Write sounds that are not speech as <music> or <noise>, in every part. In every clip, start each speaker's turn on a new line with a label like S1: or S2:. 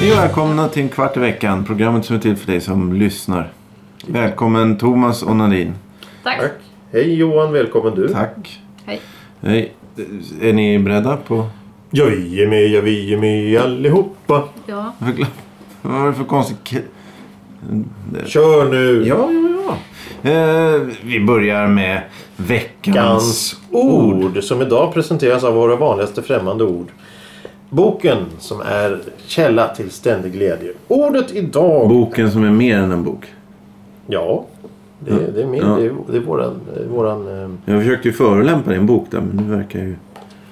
S1: Hej och välkomna till en kvart i veckan. Programmet som är till för dig som lyssnar. Välkommen Thomas och Nadine.
S2: Tack.
S3: Tack. Hej Johan, välkommen du.
S1: Tack.
S2: Hej.
S1: Hej. Är ni beredda på...
S3: Ja, vi är med, ja, vi är med allihopa.
S2: Ja.
S1: Vad var det för konstigt... k-
S3: Kör nu!
S1: Ja, ja, ja. Eh, vi börjar med veckans...
S3: Veckans ord som idag presenteras av våra vanligaste främmande ord. Boken som är källa till ständig glädje. Ordet idag.
S1: Boken som är mer än en bok.
S3: ja, det, det är min.
S1: Ja.
S3: Det är, det är våran... eh, våran eh,
S1: Jag försökte ju förolämpa din bok där men du verkar ju...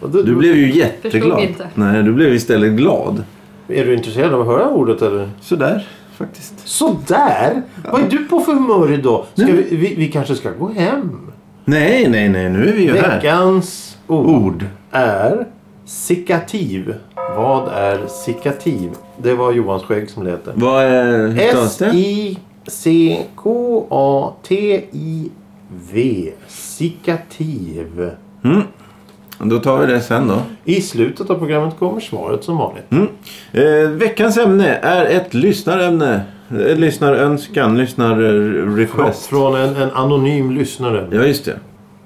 S3: och du,
S1: Du blev ju jätteglad.
S2: Förstod inte.
S1: Nej, du blev istället glad.
S3: Är du intresserad av att höra ordet eller?
S1: Sådär faktiskt.
S3: Sådär! Vad är du på för humör idag? Ska
S1: Nej.
S3: vi, vi, vi kanske ska gå hem?
S1: Nej, nej, nej. Nu är vi ju här.
S3: Veckans ord.
S1: Ord.
S3: är sikativ. Vad är sikativ? Det var Johans skägg som lät det.
S1: Vad är... Hur stavas det?
S3: S-I-C-K-A-T-I-V. Sikativ.
S1: Mm. Då tar vi det sen då.
S3: I slutet av programmet kommer svaret som vanligt.
S1: Mm. Eh, veckans ämne är ett lyssnarämne. Ett lyssnarönskan, lyssnarrequest.
S3: Från en, en anonym lyssnare.
S1: Ja, just det.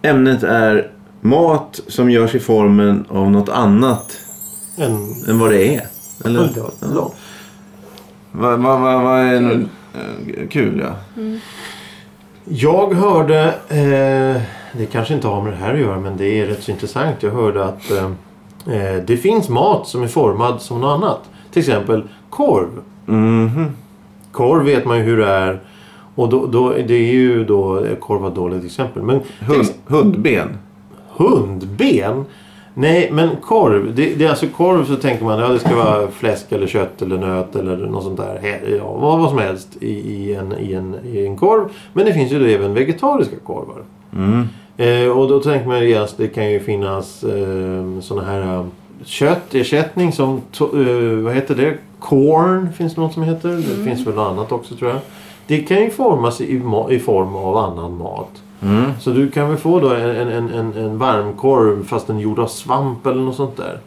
S1: Ämnet är mat som görs i formen av något annat
S3: En...
S1: än vad det är. Eller?
S3: Det var långt.
S1: Vad va, va, va är... Kul. Kul, ja.
S3: Jag hörde, eh, det kanske inte har med det här att göra men det är rätt så intressant. Jag hörde att eh, eh, det finns mat som är formad som något annat. Till exempel korv. Korv vet man ju hur det är. Och då, då, det är ju då, korv var ett dåligt exempel. Men till
S1: Hund, hundben.
S3: Hundben? Nej, men korv. Det, det är alltså korv så tänker man ja, det ska vara fläsk eller kött eller nöt eller något sånt där. He- Ja, vad, vad som helst i, i, en, i, en, i en korv. Men det finns ju då även vegetariska korvar. Eh, och då tänker man ju att det kan ju finnas eh, såna här eh, köttersättning som, to- eh, vad heter det? Corn finns det något som heter. Det finns väl något annat också tror jag. Det kan ju formas i, ma- i form av annan mat. Så du kan väl få då en, en, en, en varmkorv fast den är gjord av svamp eller något sånt där.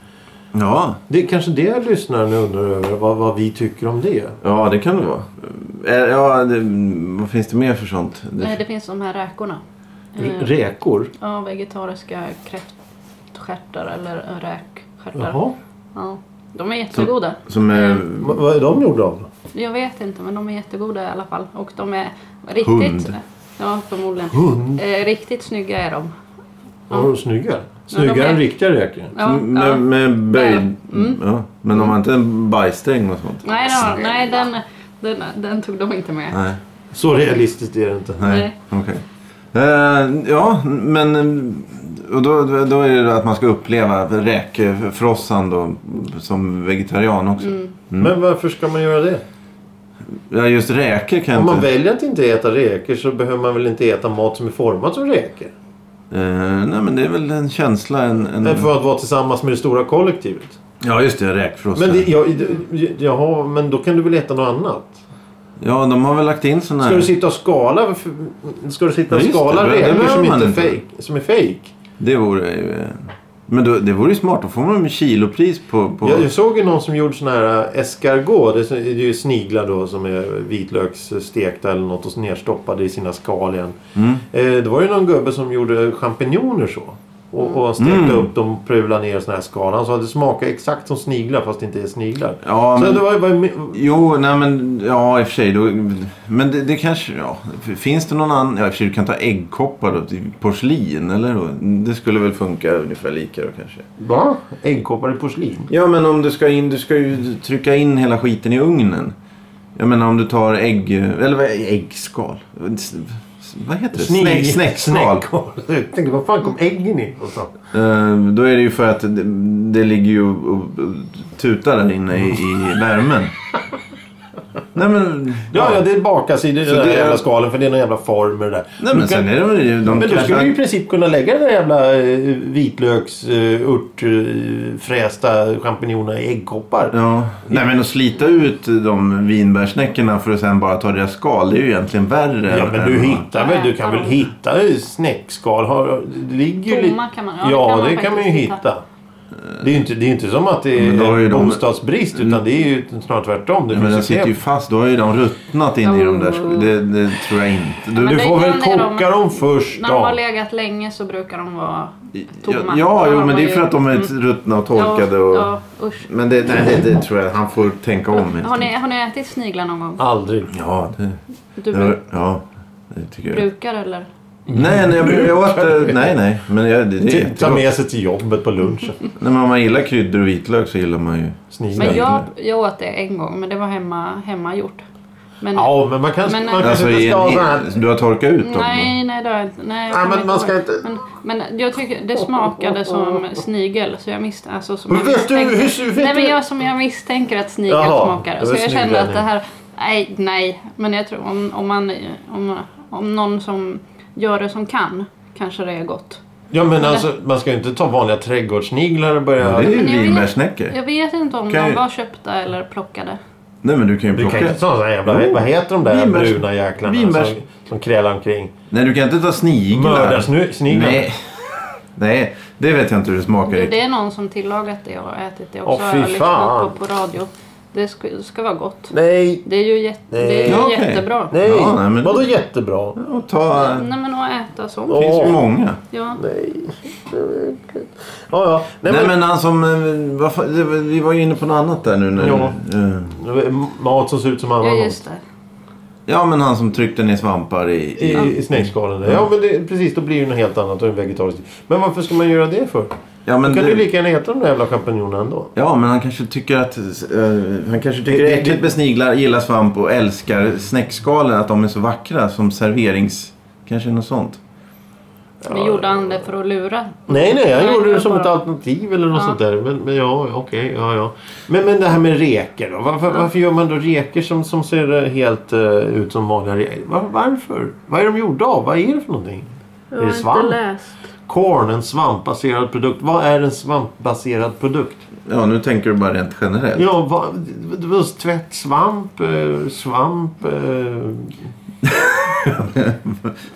S1: Ja.
S3: Det är kanske det lyssnaren undrar över, vad, vad vi tycker om det.
S1: ja, det kan det vara. Eh, Ja, det, vad finns det mer för sånt? Det-
S2: Nej, det finns de här räkorna. Eh,
S3: R- räkor?
S2: Ja, vegetariska kräftstjärtar eller räkstjärtar.
S3: Jaha.
S2: Ja. De är jättegoda.
S1: Som är...
S3: Va- vad är de gjorda av?
S2: Jag vet inte, men de är jättegoda i alla fall. Och de är riktigt...
S1: Hund.
S2: Ja, förmodligen.
S3: Hund?
S2: Eh, riktigt snygga är de.
S3: Ja. de snygga.
S2: Ja, de
S3: Snyggare
S2: är-
S3: än riktiga räkor.
S2: Ja,
S1: med,
S2: ja.
S1: med böjd...
S2: Ja. Mm.
S1: Ja. Men de har inte en bajssträng och sånt?
S2: Nej, då, nej den, den, den tog de inte med.
S1: Nej.
S3: Så realistiskt är det inte.
S1: Nej,
S2: Nej.
S1: okej. Eh, ja, men eh, och då, då- då är det då att man ska uppleva räkfrossan då som vegetarian också.
S2: Mm.
S3: Men varför ska man göra det?
S1: Ja, just räkor kan jag
S3: Om man
S1: inte...
S3: väljer att inte äta räkor så behöver man väl inte äta mat som är formad som räkor?
S1: Eh, nej, men det är väl en känsla. En, en...
S3: Men För att vara tillsammans med det stora kollektivet.
S1: Ja, just det. Räkfrossa.
S3: Men, det, ja, det- jaha, men då kan du väl äta något annat?
S1: Ja, de har väl lagt in såna här...
S3: Ska du sitta och skala, ska du sitta och
S1: Ja, just
S3: skala
S1: det. Det
S3: räkor
S1: behöver
S3: som,
S1: man inte.
S3: inte Fake, som är fake?
S1: Det vore ju... eh, Men då, det vore ju smart. Då får man ju kilopris på... på...
S3: Jag, jag såg ju någon som gjorde sån här eh, escargot. Det är så- det är ju sniglar då som är vitlöksstekta eller något och så nerstoppade i sina skal igen.
S1: Mm.
S3: Eh, det var ju någon gubbe som gjorde champinjoner så. Och, och han stekte
S1: Mm.
S3: upp dem och prulade ner såna här skal. Han sa att det smakar exakt som sniglar fast det inte är sniglar.
S1: Ja,
S3: så
S1: men-
S3: det var, var,
S1: Jo, nej men... Ja, i och för sig. Då... Men det, det kanske... Ja. Finns det någon annan... Ja, i och för sig, du kan ta äggkoppar då, till porslin, eller? Då? Det skulle väl funka ungefär lika då kanske.
S3: va? Äggkoppar i porslin?
S1: Ja, men om du ska in... Du ska ju trycka in hela skiten i ugnen. Jag menar om du tar ägg... Eller vad- äggskal? S- Vad heter det? Snäck- Snäckskal.
S3: <laughs> Jag tänkte, vad fan kom äggen in? Och så.
S1: Eh, Då är det ju för att det, det ligger ju och, och tutar där inne i, i värmen. Nej men...
S3: Ja, ja, det bakas i den
S1: Så
S3: där
S1: det är-
S3: jävla skalen för det är någon jävla form med det där.
S1: Nej
S3: Du
S1: men
S3: kan-
S1: sen är det väl... De
S3: Men då
S1: kanske-
S3: skulle du i princip kunna lägga den där jävla eh, vitlöks, eh, ört, eh, frästa champinjoner i äggkoppar.
S1: Ja. Nej men att slita ut de vinbärsnäckorna för att sen bara ta deras skal. Det är ju egentligen värre.
S3: Ja,
S1: än-
S3: men du hittar väl, du kan väl
S2: Ja.
S3: hitta snäckskal. Har- Det ligger ju li-
S2: Tomma kan man- ja, det kan
S3: Ja,
S2: man
S3: det kan man ju
S2: faktiskt hitta.
S3: hitta. Det är ju inte, det är inte som att det
S1: Eh. Men då har
S3: är
S1: ju de- Mm.
S3: bostadsbrist utan det är ju snarare tvärtom. Det
S1: Ja, men den
S3: finns ju
S1: sitter ju
S3: knep.
S1: fast. Då har ju de ruttnat in i de där.
S2: Oh.
S1: Det, det tror jag inte. Du,
S2: men
S3: Du
S2: det
S3: får
S2: är
S3: väl
S2: ibland är de-
S3: koka dem först
S2: När de har
S3: då.
S2: legat länge så brukar de vara
S1: ja,
S2: tomma.
S1: ja
S2: Då
S1: jo,
S2: har
S1: men
S2: man
S1: det är
S2: ju-
S1: för att de är
S2: Mm.
S1: ruttna och torkade. Och...
S2: Ja, ja, usch.
S1: Men det, nej, det, det tror jag. Han får tänka om. helt
S2: Har ni,
S1: enkelt.
S2: har ni ätit sniglar någon gång?
S3: Aldrig.
S1: Ja, det,
S2: Du
S1: det,
S2: bru-
S1: var- ja, det tycker jag.
S2: brukar eller?
S1: Nej, nej, jag, jag åt, eh,
S3: <laughs>
S1: nej, nej. Men jag, det, det är
S3: Ta
S1: jättegott.
S3: med sig till jobbet på lunchen.
S1: När man gillar kryddor och vitlök så gillar man ju.
S3: Sniglar.
S2: Men jag, jag åt det en gång, men det var hemma, hemmagjort. Men,
S3: Ja, men man kanske,
S2: Mm. Men- eh,
S3: man kanske
S1: Alltså,
S3: inte
S1: i
S3: ska ha sån här...
S1: en, du har torkat ut dem?
S2: Nej, nej det har jag inte. Nej, jag
S3: Nej,
S2: kommer
S3: men man
S2: ihåg.
S3: ska inte...
S2: Men, men jag tycker det smakade
S3: <laughs>
S2: som snigel. Så jag misst, alltså, som jag
S3: Men vet du
S2: misstänker-
S3: hur... vet
S2: Nej men
S3: du-
S2: jag som jag misstänker att snigel
S3: Jaha, det
S2: smakar.
S3: var
S2: Så jag kände att
S3: snigelning.
S2: det här, nej, nej. Men jag tror om, om man, om, om någon som gör det som kan, kanske det är gott.
S3: Ja, men alltså, man ska ju inte ta vanliga trädgårdssniglar och börja...
S1: Det är ju
S2: Men jag vet-
S1: vinbärsnäckor.
S2: Jag vet inte om
S1: Kan
S2: de
S1: ju-
S2: var köpta eller plockade.
S1: Nej men du kan ju
S3: Du
S1: plocka.
S3: kan inte ta sådana jävla...
S1: Jo.
S3: Vad heter de där
S1: Vinbärs-
S3: bruna jäklarna
S1: vinbärs-
S3: som, som krälar omkring?
S1: Nej du kan inte ta sniglar.
S3: Mördarsniglar.
S1: Nej. <laughs> Nej, det vet jag inte hur det smakar.
S2: Jo,
S1: riktigt.
S2: det är någon som tillagat det och ätit det också.
S3: Åh,
S2: har
S3: fy
S2: jag lyssnat
S3: fan.
S2: på, på radio. Det ska, ska vara gott.
S3: Nej.
S2: Det är ju, jätte, det är ju
S1: Ja, okej.
S2: jättebra.
S3: Nej.
S1: Ja, nej, men-
S3: Vadå jättebra?
S1: Och ta...
S2: Nej men att äta
S1: Det
S2: sånt.
S1: finns ju
S3: Åh.
S1: många.
S2: Ja.
S3: Nej. Ja, ja. Nej,
S1: Nej
S3: men...
S1: men han som... eh, vad fan, det var- Vi var ju inne på något annat där nu. När,
S3: Ja.
S1: eh,
S3: Mat som ser ut som
S2: ja,
S3: annan
S2: just det.
S1: ja men han som tryckte ner svampar i... i...
S3: I, i snäckskalen. där. Ja, men det, precis. Då blir det något helt annat och en vegetarisk. Men varför ska man göra det för?
S1: Ja, men
S3: Då kan du
S1: det-
S3: lika gärna äta de där jävla champinjonerna ändå.
S1: Ja, men han kanske tycker att... eh, han kanske tycker
S3: Det-
S1: det
S3: det-
S1: är äckligt med sniglar, gillar svamp och älskar snäckskalen. Att de är så vackra som serverings... Kanske något sånt.
S2: Men gjorde han det för att lura?
S3: Nej, nej. Jag
S2: Nej,
S3: gjorde det
S2: jag
S3: som
S2: bara-
S3: ett alternativ eller något
S2: Ja.
S3: sånt där. Men, men ja, okej. ja, ja. Men, men det här med reker då. Varför, varför gör man då reker som, som ser eh, helt eh, ut som vanliga reker? Var, varför? Vad är de gjorda av? Vad är det för någonting?
S2: Jag
S3: är det svamp?
S2: läst.
S3: Corn, en svampbaserad produkt. Vad är en svampbaserad produkt?
S1: Ja, nu tänker du bara rent generellt.
S3: Ja, va, det var tvätt, svamp, eh, svamp. eh.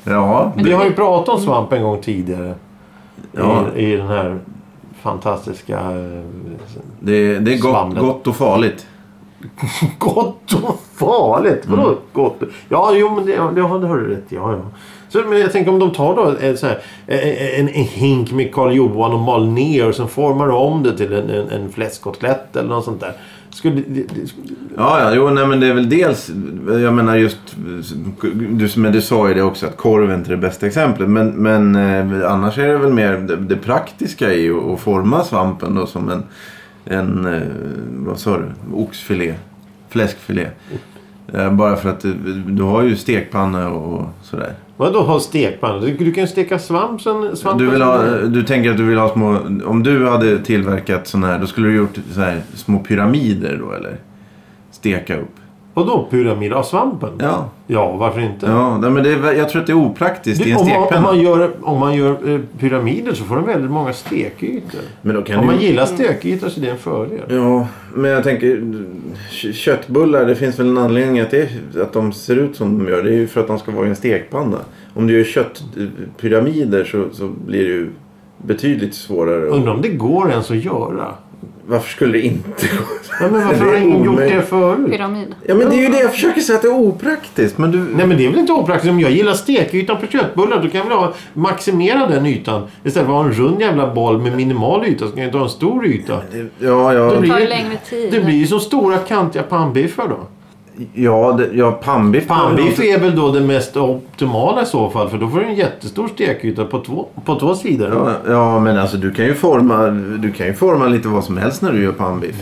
S1: Ja,
S3: Vi har ju pratat om svamp en gång tidigare.
S1: Ja.
S3: I, I den här fantastiska... eh,
S1: det, det är gott,
S3: Svamlet.
S1: gott och farligt.
S3: Gott och farligt! Vadå
S1: Mm.
S3: gott? Ja, jo, men det, ja, det har du rätt i. Ja, ja. Så, men jag tänker om de tar då en, så här, eh, en, en hink med Karl Johan och mal ner och sen formar de om det till en, en, en fläskkotlett eller något sånt där. Skulle, det, det,
S1: Ja, ja, jo, nej, men det är väl dels, jag menar just, du, men du sa ju det också att korv är inte det bästa exemplet. Men, men eh, annars är det väl mer det, det praktiska i att- att forma svampen då som en, en eh, vad sa du, oxfilé, fläskfilé. Eh, Bara för att du, du har ju stekpanna och sådär.
S3: Vadå ha stekpanna? Du, du kan ju steka svamp sen... Svamp
S1: Du, vill ha, eh, du tänker att du vill ha små, om du hade tillverkat sådana här, då skulle du gjort så här små pyramider då eller? Steka upp.
S3: Vadå pyramid av svampen?
S1: Ja.
S3: Ja, varför inte?
S1: Ja, nej, men det är, jag tror att det är opraktiskt i
S3: Det,
S1: en
S3: om, man, om,
S1: stekpanna.
S3: man gör, om man gör eh, pyramider så får de väldigt många stekytor.
S1: Men då
S3: Om
S1: kan
S3: man
S1: du...
S3: gillar stekytor så är det en fördel.
S1: Ja, men jag tänker kö- köttbullar, det finns väl en anledning att, det, att de ser ut som de gör. Det är ju för att de ska vara i en stekpanna. Om du gör köttpyramider så, så blir det ju betydligt svårare.
S3: Undrar om det går ens att göra.
S1: Varför skulle det inte gå?
S3: Nej, men
S1: <laughs>
S3: varför
S1: Det är
S3: har ingen gjort
S1: omöjligt.
S3: det förut?
S2: Pyramid.
S1: Ja, men det är ju det jag försöker säga att det är opraktiskt. Men du...
S3: Nej men det är väl inte opraktiskt. Om jag gillar stekytan på köttbullar då kan jag väl ha, maximera den ytan. Istället för att ha en rund jävla boll med minimal yta så kan jag inte ha en stor yta.
S1: Ja,
S3: Det
S1: ja,
S2: Det tar ju
S3: blir-
S2: längre tid.
S3: Det blir ju som stora kantiga pannbiffar då.
S1: ja, det, ja pannbiff.
S3: Pannbiff är väl då det mest optimala i så fall för då får du en jättestor stekyta på två, på två sidor.
S1: Ja, ja, men alltså du kan ju forma, du kan ju forma lite vad som helst när du gör pannbiff.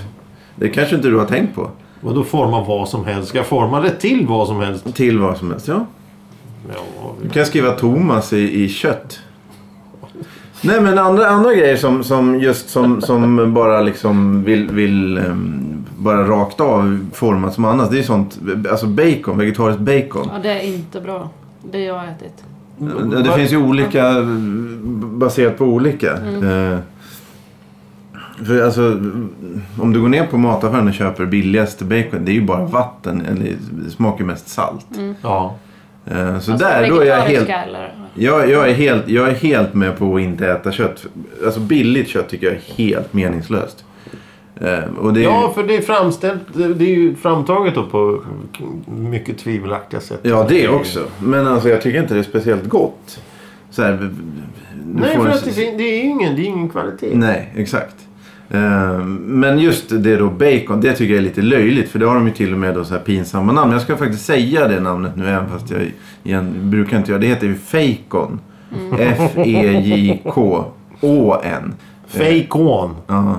S1: Det kanske inte du har tänkt på.
S3: Och då formar vad som helst. Ska jag forma det till vad som helst?
S1: Till vad som helst, ja.
S3: Ja,
S1: Du kan skriva Thomas i, i kött. Nej men andra, andra grejer som, som just som, som bara liksom vill, vill ehm, bara rakt av format som annars. Det är sånt, alltså bacon, vegetariskt bacon.
S2: Ja, det är inte bra. Det jag har ätit.
S1: Det, det finns ju olika eh, baserat på olika.
S2: Mm.
S1: Eh, För alltså, om du går ner på mataffären och köper billigaste bacon, det är ju bara vatten. Eller, det smakar ju mest salt.
S3: Ja.
S1: Eh, Så
S2: Alltså,
S1: där, då är jag helt...
S2: vegetariska Eller,
S1: Jag, jag, är helt, jag är helt med på att inte äta kött. Alltså billigt kött tycker jag är helt meningslöst. Eh, och det är
S3: ja,
S1: ju,
S3: för det är framställt. det- Det är ju framtaget då på mycket tvivelaktiga sätt.
S1: ja, det också. Men alltså jag tycker inte det är speciellt gott. Så här, du
S3: Nej,
S1: får
S3: för
S1: en-
S3: att det, fin- det är ju ingen, det är ingen kvalitet.
S1: Nej, exakt. Eh, Men just det då bacon, det tycker jag är lite löjligt. För det har de ju till och med då så här pinsamma namn. Jag ska faktiskt säga det namnet nu även fast jag igen, brukar inte göra det. Det heter ju E fejkon. F-E-J-K-Å-N.
S3: Fejkon.
S1: Ja.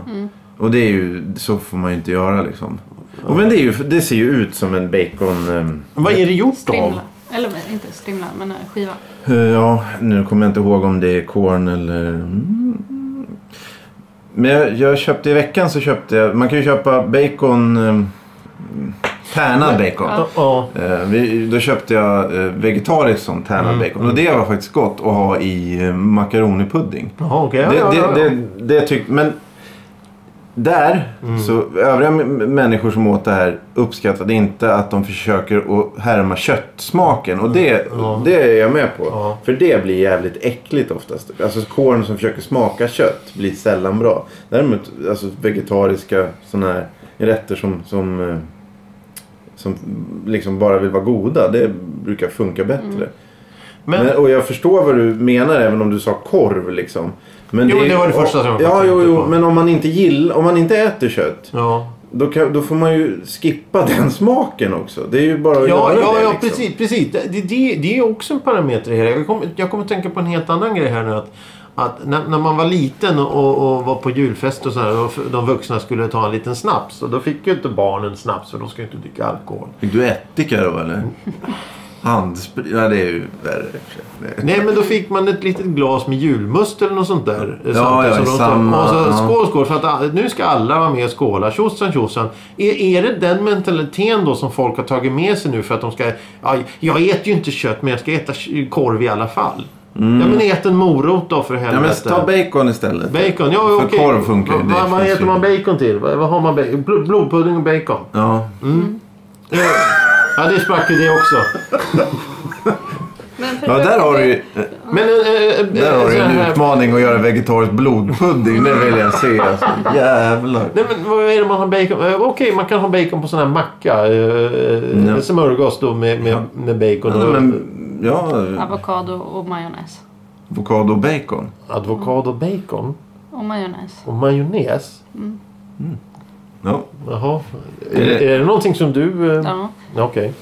S1: Och det är ju, så får man ju inte göra liksom. Och men det, är ju, det ser ju ut som en bacon... ehm,
S3: Vad är det gjort av?
S2: strimla. Eller men, inte strimla, men eh, skiva.
S1: eh, ja, nu kommer jag inte ihåg om det är korn eller... Mm. Men jag, jag köpte i veckan så köpte jag, man kan ju köpa bacon... ehm, Tärnad bacon.
S3: Ja. ja.
S1: Eh, vi, då köpte jag eh, vegetariskt sånt tärnad
S3: Mm.
S1: bacon. Och det var faktiskt gott att ha i eh, makaronipudding.
S3: Jaha, okej.
S1: det,
S3: Ja, ja, ja.
S1: det, det, det tyck, men där,
S3: Mm.
S1: så övriga m- människor som åt det här uppskattade inte att de försöker att härma köttsmaken. Och det,
S3: Mm. Ja.
S1: det är jag med på.
S3: Ja.
S1: För det blir jävligt äckligt oftast. Alltså korn som försöker smaka kött blir sällan bra. Däremot alltså, vegetariska sådana här rätter som, som, eh, som liksom bara vill vara goda. Det brukar funka bättre.
S3: Men,
S1: Men, och jag förstår vad du menar även om du sa korv liksom. Men
S3: Jo,
S1: är-
S3: det var det första som jag
S1: Ja,
S3: tänkte
S1: jo,
S3: på.
S1: jo, men om man inte gillar, om man inte äter kött.
S3: ja.
S1: Då, kan, då får man ju skippa <laughs> den smaken också. Det är ju bara att
S3: Ja,
S1: göra
S3: ja,
S1: det,
S3: ja
S1: liksom.
S3: precis. precis. Det, det, det är också en parameter i det här. Jag kommer jag kom att tänka på en helt annan grej här nu. Att, att när, när man var liten och, och, och var på julfest och sådär och de vuxna skulle ta en liten snaps. Och då fick ju inte barnen snaps för de ska ju inte dricka alkohol.
S1: Fick du ättika då eller? Handsprit? Ja, det är ju värre. i och för sig. Det-
S3: Nej, men då fick man ett litet glas med julmust eller något sånt där. eh,
S1: Ja,
S3: samtidigt
S1: ja,
S3: som de tar-
S1: samma,
S3: Och så,
S1: ja.
S3: skål, skål. För att all- nu ska alla vara med och skåla. Tjosan, tjosan. Är, är det den mentaliteten då som folk har tagit med sig nu för att de ska... Ja, jag äter ju inte kött, men jag ska äta k- korv i alla fall. Ja, men ät en morot då för
S1: Mm. Ja, men
S3: helvete.
S1: ta bacon istället.
S3: bacon, ja
S1: För
S3: okej.
S1: korv funkar ju.
S3: Va-
S1: det
S3: va- Vad
S1: finns
S3: äter
S1: ju-
S3: man bacon till? Vad, vad har man bacon? Bl- blodpudding
S1: <laughs>
S3: och bacon.
S1: Ja.
S3: Ja, det sprack ju det också.
S2: Men för
S1: ja, där har du ju
S3: Men eh, en, en, en,
S1: där har du
S3: sån
S1: en
S3: eh, här-
S1: utmaning att göra vegetarisk blodpudding. Det vill jag se. Alltså. Jävlar.
S3: Nej men vad är det man har bacon? Eh, Okej, man kan ha bacon på sån här macka. Eh,
S1: Ja.
S3: Smörgås då med, med, med bacon
S1: Ja,
S3: och
S1: men, ja,
S2: Avokado och majonnäs.
S1: avokado och bacon.
S3: avokado, bacon
S2: Och majonnäs.
S3: och majonnäs.
S1: Ja.
S3: Jaha.
S1: Är
S3: Är,
S1: det-
S3: är det någonting som du...
S1: Mm.
S3: Eh,
S2: Ja.
S3: Okej.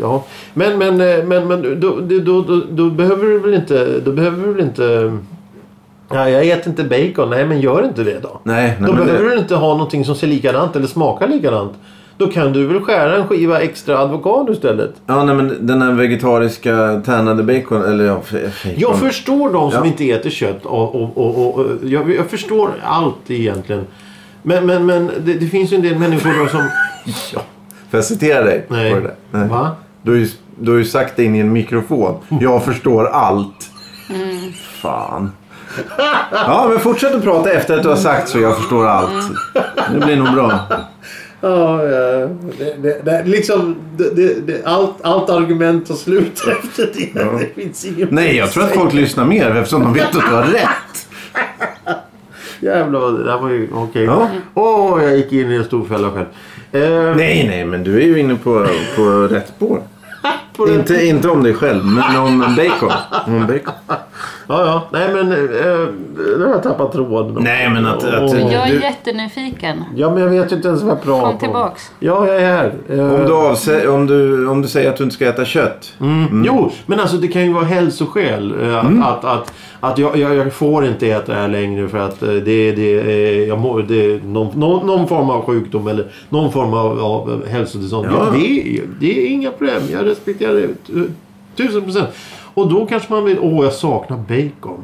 S3: Ja. Men, men, eh, men, men då, då, då, då, då behöver du väl inte... Då behöver du väl inte... Ja, jag äter inte bacon. Nej, men gör inte det då.
S1: Nej, nej
S3: Då
S1: men
S3: behöver
S1: det,
S3: du inte ha någonting som ser likadant eller smakar likadant. Då kan du väl skära en skiva extra avokado istället.
S1: ja, nej, men den här vegetariska tärnade bacon, eller ja, f- bacon.
S3: Jag förstår de som
S1: Ja.
S3: inte äter kött. Och, och, och, och, och- jag, jag förstår allt egentligen. Men, men, men det, det finns ju en del människor då som...
S1: Ja. Får jag citera dig?
S3: Nej.
S1: På det där? nej.
S3: Va?
S1: Du, har ju, du har ju sagt det in i en mikrofon. Jag förstår allt. Fan. Ja, men fortsätt att prata efter att du har sagt så. Jag förstår allt. Det blir nog bra.
S3: Ja, ja. Det, det, det, liksom, det, det, det, allt, allt argument tar slut <laughs> efter det. Det finns ingen...
S1: Nej, jag tror att folk lyssnar mer eftersom de vet att du har rätt.
S3: Jävlar vad det där var ju... Okej.
S1: Ja.
S3: Åh, jag gick in i en stor fälla själv. Eh,
S1: Nej, nej, men du är ju inne på, på rätt spår.
S3: på den-
S1: Inte, inte om dig själv, men om bacon. Om bacon.
S3: Ja, ja. Nej, men... Eh, nu har jag tappat tråden.
S1: Nej, men att- att-
S3: Åh.
S2: Jag är
S1: Du-
S2: jättenyfiken.
S3: Ja, men jag vet ju inte ens vad jag pratar om.
S2: Kom tillbaks.
S3: Ja, jag är här. Eh,
S1: Om du, avse- om, du, om du säger att du inte ska äta kött.
S3: Mm. Jo, men alltså det kan ju vara hälsoskäl. eh, Att,
S1: Mm.
S3: att, att, att jag, jag, jag får inte äta det här längre för att eh, det, det, eh, jag mår, det är någon, någon, någon form av sjukdom eller någon form av, av hälsotillstånd.
S1: Ja.
S3: Ja. Det, är- det är inga problem. Jag respekterar det. eh, Tusen procent. Och då kanske man vill, åh jag saknar bacon.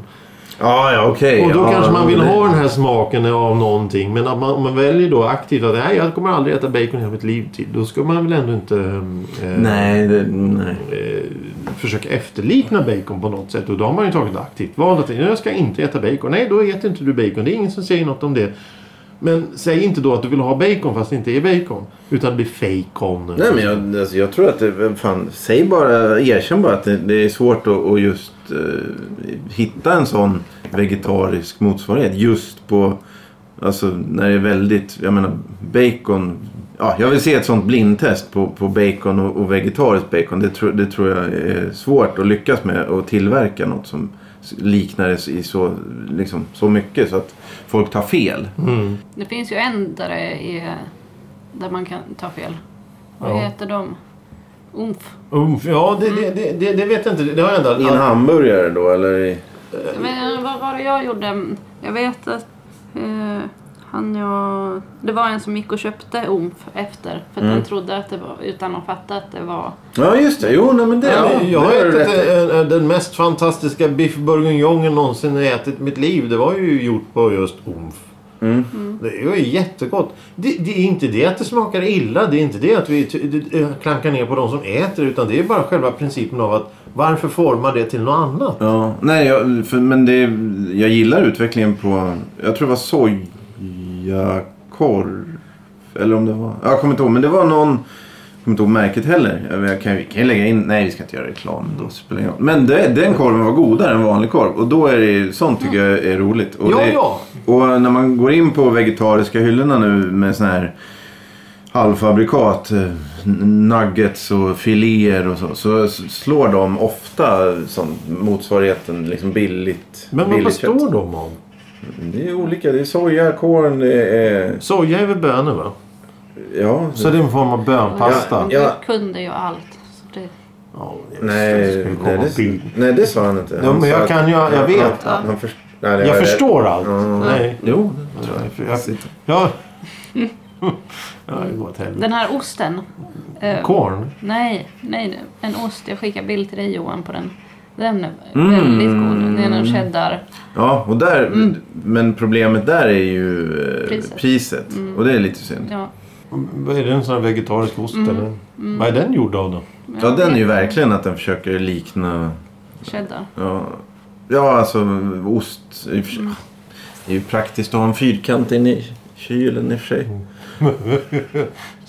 S1: Ja, ja, okej.
S3: Och då
S1: ja,
S3: kanske man vill
S1: det-
S3: ha den här smaken av någonting. Men att man, om man väljer då aktivt att nej, jag kommer aldrig äta bacon i hela mitt liv till. Då ska man väl ändå inte eh,
S1: Nej, det, nej.
S3: eh, försöka efterlikna bacon på något sätt. Och då har man ju tagit aktivt val. Att, jag ska inte äta bacon. Nej, då äter inte du bacon. Det är ingen som säger något om det. Men säg inte då att du vill ha bacon fast det inte är bacon. Utan det blir fejkon.
S1: Nej men jag, alltså, jag tror att det, fan, säg bara, erkänn bara att det, det är svårt att, att just eh, hitta en sån vegetarisk motsvarighet. Just på, alltså när det är väldigt, jag menar bacon. Ja, jag vill se ett sånt blindtest på, på bacon och, och vegetariskt bacon. Det, tror- det tror jag är svårt att lyckas med att tillverka något som liknar det i så, liksom, så mycket så att folk tar fel.
S3: Mm.
S2: Det finns ju en där, det är, där man kan ta fel. Vad
S3: Ja.
S2: heter de? Umf.
S3: Umf, ja, det, det, det, det, det vet jag inte. Det har jag ändå...
S1: I en hamburgare då eller? I,
S2: Men eh, vad var det jag gjorde? Jag vet att eh, han jag... Det var en som gick och köpte umf efter. För att
S1: Mm.
S2: han trodde att det var... Utan att fatta att det var...
S1: ja just det, jo nej, men det,
S3: Ja,
S1: det
S3: jag har
S1: har du rätt i.
S3: ätit eh, eh, den mest fantastiska biff bourguignon jag någonsin ätit i mitt liv. Det var ju gjort på just omf.
S1: Mm.
S3: Det var ju jättegott. Det, det är inte det att det smakar illa. Det är inte det att vi ty- det- eh, klankar ner på de som äter. Utan det är bara själva principen av att varför forma det till något annat?
S1: Ja, nej, jag, för, men det, jag gillar utvecklingen på... Jag tror det var sojakorv. Eller om det var... Jag kommer inte ihåg, men det var någon... Jag kommer inte ihåg märket heller. Jag, jag kan, vi kan ju lägga in... Nej, vi ska inte göra reklam. Då spelar det ingen roll. Men det, den korven var godare än vanlig korv. Och då är det ju- sånt tycker jag är roligt. Och
S3: Ja,
S1: det,
S3: ja.
S1: Och när man går in på vegetariska hyllorna nu med sån här halvfabrikat, eh, n- nuggets och filéer och så. Så s- slår de ofta sån motsvarigheten liksom billigt.
S3: Men vad
S1: billigt
S3: består
S1: kött.
S3: de av?
S1: Det är olika. Det är soja, korn, det är...
S3: Soja är väl bönor va?
S1: Ja.
S3: Så det är en form av bönpasta?
S2: Jag
S1: Mm. Ja.
S2: kunde ju allt. Så det,
S3: Ja, det är-
S1: Nej,
S3: skulle komma
S1: nej, det,
S3: bild.
S1: nej, det sa han inte. Han
S3: Ja, men
S1: sa
S3: jag
S1: att-
S3: kan ju- jag
S1: han-
S3: vet.
S1: han- han förs- nej, det
S3: Jag
S1: var-
S3: förstår allt.
S1: Mm.
S3: Nej.
S1: Jo.
S3: Jag, ja. <laughs> ja, det går åt helvete.
S2: den här osten. eh,
S3: Korn?
S2: Nej, nej. En ost. Jag skickar bild till dig Johan på den. Den är
S1: Mm.
S2: väldigt god. Det är en cheddar.
S1: Ja, och där, men problemet där är ju eh,
S2: Priset.
S1: priset. Och det är lite synd.
S2: Ja,
S3: Vad är det? En sån här vegetarisk ost eller? Vad är den gjord av då? <laughs>
S1: Ja, den är ju verkligen att den försöker likna...
S2: cheddar.
S1: Ja, ja alltså ost. i och för sig. Det är ju praktiskt att ha en fyrkant inne i kylen i och för sig.
S3: Mm.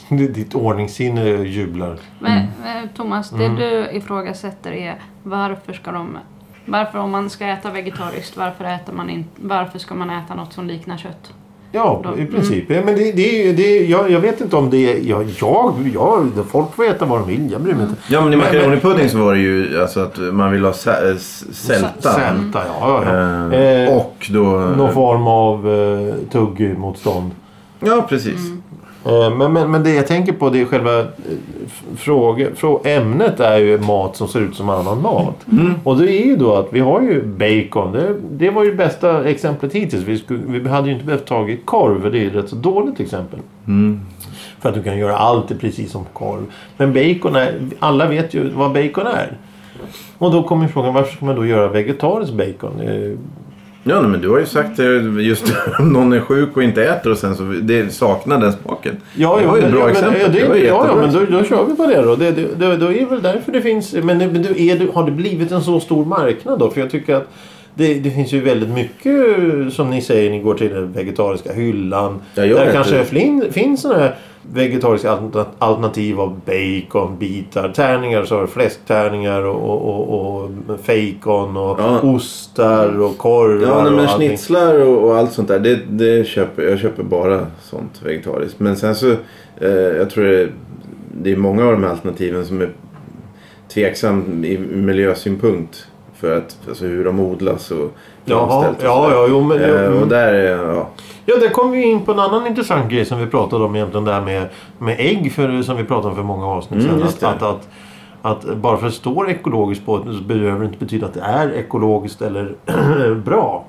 S3: Det- Ditt ordningssinne jublar.
S2: Men
S3: Mm.
S2: eh, Thomas, det du ifrågasätter är varför ska de... Varför om man ska äta vegetariskt, varför, äter man in, varför ska man äta något som liknar kött?
S3: Ja,
S2: Då-
S3: i princip. Ja, men det, det, är ju- det, är- jag, jag vet inte om det är... Jag, jag, jag, folk får äta vad de vill. Jag bryr mig inte.
S1: Ja, men i
S3: Men-
S1: makaronipudding så var det ju alltså att man vill ha sä- eh, s- sälta.
S3: Sälta, ja. ja, ja.
S1: Eh,
S3: Eh,
S1: och då...
S3: Någon form av eh, tuggmotstånd.
S1: Ja, precis.
S3: Eh, Men, men, men det jag tänker på det är själva eh, f- fråge, frå, ämnet är ju mat som ser ut som annan mat. Och det är ju då att vi har ju bacon. Det, det var ju det bästa exemplet hittills. Vi, skulle, vi hade ju inte behövt tagit korv för det är ju ett rätt så dåligt exempel. För att du kan göra allt är precis som korv. Men bacon är, alla vet ju vad bacon är. Och då kommer frågan varför ska man då göra vegetariskt bacon? Eh,
S1: Ja, nej, men du har ju sagt det just om någon är sjuk och inte äter och sen så det saknar den smaken.
S3: Ja,
S1: det
S3: ja,
S1: var ju ett
S3: men-
S1: bra
S3: ja, men-
S1: exempel.
S3: Ja, det,
S1: var ju
S3: ja, ja,
S1: jättebra.
S3: men då, då kör vi på det då. Det, det, det, då är det väl därför det finns... Men, men du, är, du, har det blivit en så stor marknad då? För jag tycker att det, det finns ju väldigt mycket som ni säger. Ni går till den vegetariska hyllan.
S1: Ja, jag
S3: där
S1: vet
S3: kanske
S1: det.
S3: flin, finns sådana här vegetariska alter- alternativ av bacon, bitar, tärningar. Så har du fläsktärningar och, och, och, och fejkon och
S1: Ja.
S3: ostar och korvar
S1: Ja, nej, men
S3: och allting.
S1: schnitzlar och, och allt sånt där. Det, det köper, jag köper bara sånt vegetariskt. Men sen så, eh, jag tror det, det är många av de här alternativen som är tveksam i miljösynpunkt. För att, alltså hur de odlas och
S3: Jaha,
S1: framställt och
S3: ja,
S1: sådär.
S3: ja, jo, men... jo,
S1: Eh,
S3: mm.
S1: och där är, ja.
S3: Ja, där kom vi in på en annan intressant grej som vi pratade om egentligen. Det här med, med ägg för, som vi pratade om för många avsnitt
S1: Mm,
S3: sedan.
S1: just
S3: att,
S1: det.
S3: att, att, att bara för att det står ekologiskt på ett så behöver det inte betyda att det är ekologiskt eller <clears throat> bra.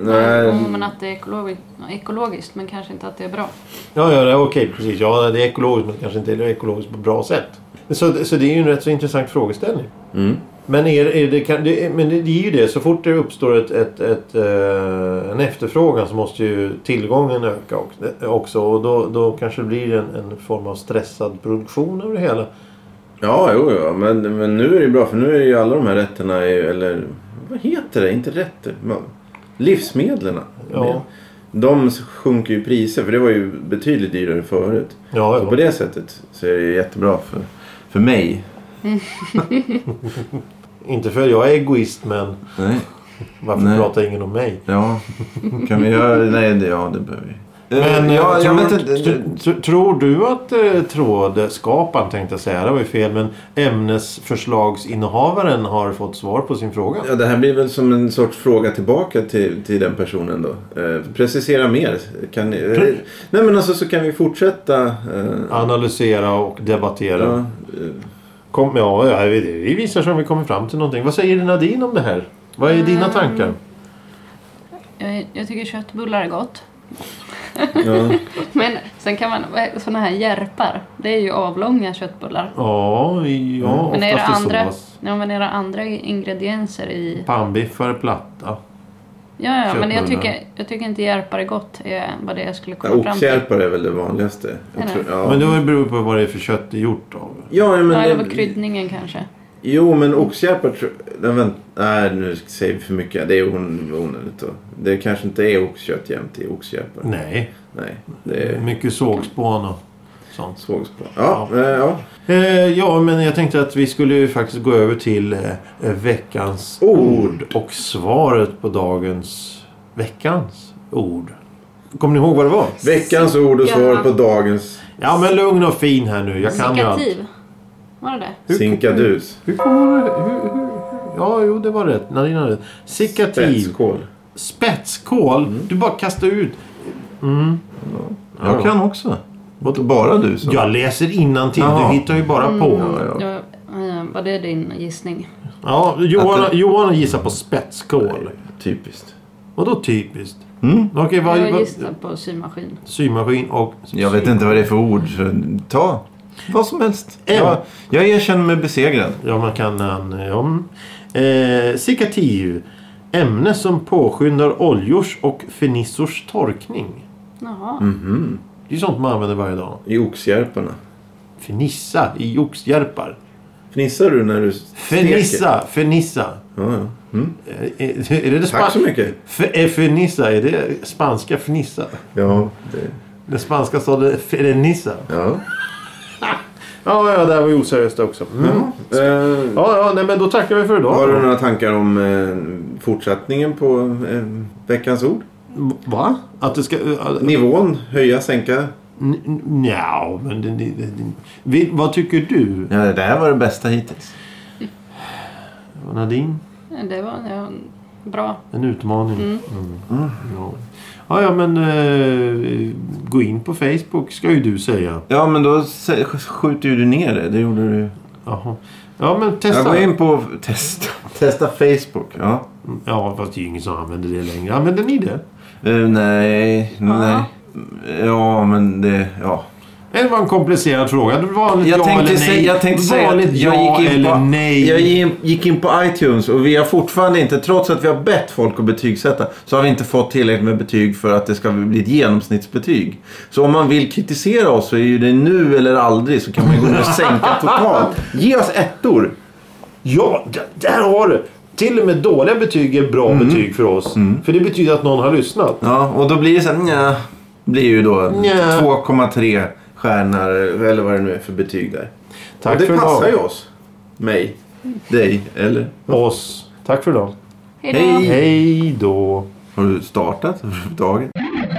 S1: Nej,
S2: Jo, men att det är ekologi- ekologiskt, men kanske inte att det är bra.
S3: Ja, ja, ja okej precis. Ja, det är ekologiskt men kanske inte är ekologiskt på ett bra sätt. Så, så det är ju en rätt så intressant frågeställning.
S1: mm.
S3: Men, är, är det, kan, det, är- men det, det är ju det, så fort det uppstår ett, ett, ett, eh, en efterfrågan så måste ju tillgången öka och- eh, också. Och då, då kanske det blir en, en form av stressad produktion över det hela.
S1: Ja, jo, ja. Men, men nu är det bra för nu är ju alla de här rätterna, är ju- eller vad heter det? Inte rätter. Man, livsmedlen.
S3: Ja.
S1: De sjunker ju i priser för det var ju betydligt dyrare förut.
S3: Ja,
S1: Så på
S3: ja.
S1: det sättet så är det jättebra för, för mig.
S3: Inte för att jag är egoist men
S1: Nej.
S3: varför
S1: Nej.
S3: pratar ingen om mig?
S1: Ja, kan vi göra det? Nej, det, ja, det behöver vi.
S3: Men
S1: Eh, ja, jag
S3: eh, tror,
S1: vet inte.
S3: tr- tr- tror du att eh, trådskaparen tänkte jag säga, det var ju fel, men ämnesförslagsinnehavaren har fått svar på sin fråga?
S1: Ja, det här blir väl som en sorts fråga tillbaka till, till den personen då. Eh, precisera mer. Kan ni, eh, nej men alltså så kan vi fortsätta. Eh,
S3: Analysera och debattera.
S1: ja, eh,
S3: Kom, ja, ja, vi- vi visar sig om vi kommer fram till någonting. Vad säger Nadine om det här? Vad är
S2: Ehm.
S3: dina tankar?
S2: Jag, jag tycker köttbullar är gott. <laughs>
S1: ja.
S2: eh, Men sen kan man, sådana här järpar, det är ju avlånga köttbullar.
S3: Ja, i- ja
S2: Men är det
S3: oftast i
S2: andra,
S3: sås.
S2: ja, men är det andra ingredienser i...
S3: Pannbiffar, platta.
S2: Ja, ja men jag
S3: Köttbullar.
S2: tycker, jag tycker inte järpar är gott är vad det är jag skulle
S1: Ja,
S2: komma fram till.
S1: Oxhjälpar är väl det vanligaste.
S2: Är
S1: Jag
S2: det?
S1: tror, ja.
S3: Men det beror på vad det är för kött det är gjort av.
S1: ja, men,
S2: Ja, det var kryddningen kanske.
S1: Jo, men oxhjälpar tror nej, vänt, nej, nu säger vi för mycket. Det är on- onödigt då. Det kanske inte är oxkött jämt i oxhjälpar.
S3: Nej,
S1: Nej, det är
S3: mycket sågspån och sånt.
S1: svågspån. Ja, eh, ja.
S3: Eh, ja, men jag tänkte att vi skulle ju faktiskt gå över till eh, veckans
S1: Ord.
S3: ord och svaret på dagens veckans ord. Kommer ni ihåg vad det var?
S1: Veckans ord och
S2: Ja.
S1: svar på dagens
S3: Ja, men lugn och fin här nu. Jag kan ju allt.
S2: Sikativ. Var det det?
S1: sinkadus.
S3: Hur kommer det... Hur, hur, ja, jo, det var rätt. Nadine hade rätt. Sikativ.
S1: Spetskål.
S3: Spetskål.
S1: Mm.
S3: Du bara kastar ut.
S1: Jag kan också. Vad bara du som...
S3: Jag läser innantill.
S1: Jaha.
S3: Du hittar ju bara på.
S1: Ja, ja.
S2: Ja, eh, var det din gissning?
S3: Ja, Johan,
S1: Att det-
S3: Johan gissar på spetskål.
S1: Typiskt.
S3: Vadå typiskt?
S1: Mm.
S3: Okej, vad...
S2: Jag
S3: vad
S2: gissade på symaskin.
S3: symaskin och...
S1: Jag vet inte vad det är för ord. Så ta vad som helst.
S3: En.
S1: Jag, jag erkänner mig besegrad.
S3: Ja, man kan... eh, Ja. mm. Eh, sikativ. Ämne som påskyndar oljors och fernissors torkning.
S2: Jaha.
S3: Det är ju sånt man använder varje dag.
S1: I oxhjärparna.
S3: Fernissa i oxhjärpar.
S1: Fnissar du när du steker?
S3: Fernissa, fernissa.
S1: Ja, ja. Mm.
S3: Är, är, Eh, är det det
S1: Tack så
S3: spanska?
S1: mycket.
S3: Är fernissa, är det spanska fnissa?
S1: Ja, det,
S3: Den spanska staden fernissa.
S1: ja.
S3: Ja, ja, det här var ju oseriöst också. Mm.
S1: Eh,
S3: Ja, ja, nej, men då tackar vi för idag.
S1: har du några tankar om eh, fortsättningen på eh, veckans ord?
S3: Va? Att det ska... äh,
S1: Nivån, höja, sänka?
S3: N- n- Nja, men... Det, det, det, vi, vad tycker du,
S1: Ja, det här var det bästa hittills.
S3: Nadine?
S2: Det var ja, bra.
S3: En utmaning. Mm. Ja. ja, ja, men... eh, gå in på Facebook, ska ju du säga.
S1: Ja, men då sä- skjuter ju du ner det. Det gjorde du.
S3: Jaha. Ja, men
S1: Jag
S3: testa.
S1: går in på testa, <laughs> testa Facebook. Ja.
S3: Ja, fast det är ju ingen som använder det längre. Använder ni det?
S1: Eh, nej,
S2: Ja.
S1: nej. Ja, men det... Ja.
S3: Det var en komplicerad fråga. Det var vanligt
S1: Jag
S3: ja
S1: tänkte,
S3: eller nej.
S1: säga, jag tänkte säga
S3: vanligt
S1: att jag
S3: ja
S1: gick in
S3: eller
S1: på,
S3: nej.
S1: jag gi- gick in på iTunes och vi har fortfarande inte, trots att vi har bett folk att betygsätta, så har vi inte fått tillräckligt med betyg för att det ska bli ett genomsnittsbetyg. Så om man vill kritisera oss så är ju det nu eller aldrig så kan man ju gå ner och sänka totalt. Ge oss ettor!
S3: Ja, d- där har du! Till och med dåliga betyg är bra betyg för oss. För det betyder att någon har lyssnat.
S1: Ja, och då blir det så här, nja, blir ju då
S3: Nja.
S1: 2,3 stjärnor eller vad det nu är för betyg där.
S3: Tack
S1: och det
S3: för idag.
S1: passar ju oss. Mig. Dig. Eller?
S3: Oss. Tack för idag.
S2: Hej då!
S1: Hej.
S3: Mm. Hej då.
S1: Har du startat överhuvudtaget?